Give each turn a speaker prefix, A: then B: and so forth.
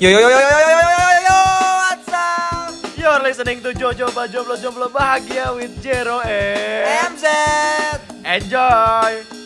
A: Yo yo yo yo yo yo yo yo yo yo what's up?
B: You're listening to Jojo Jomblo Jomblo Bahagia with Jero and
A: MZ.
B: Enjoy.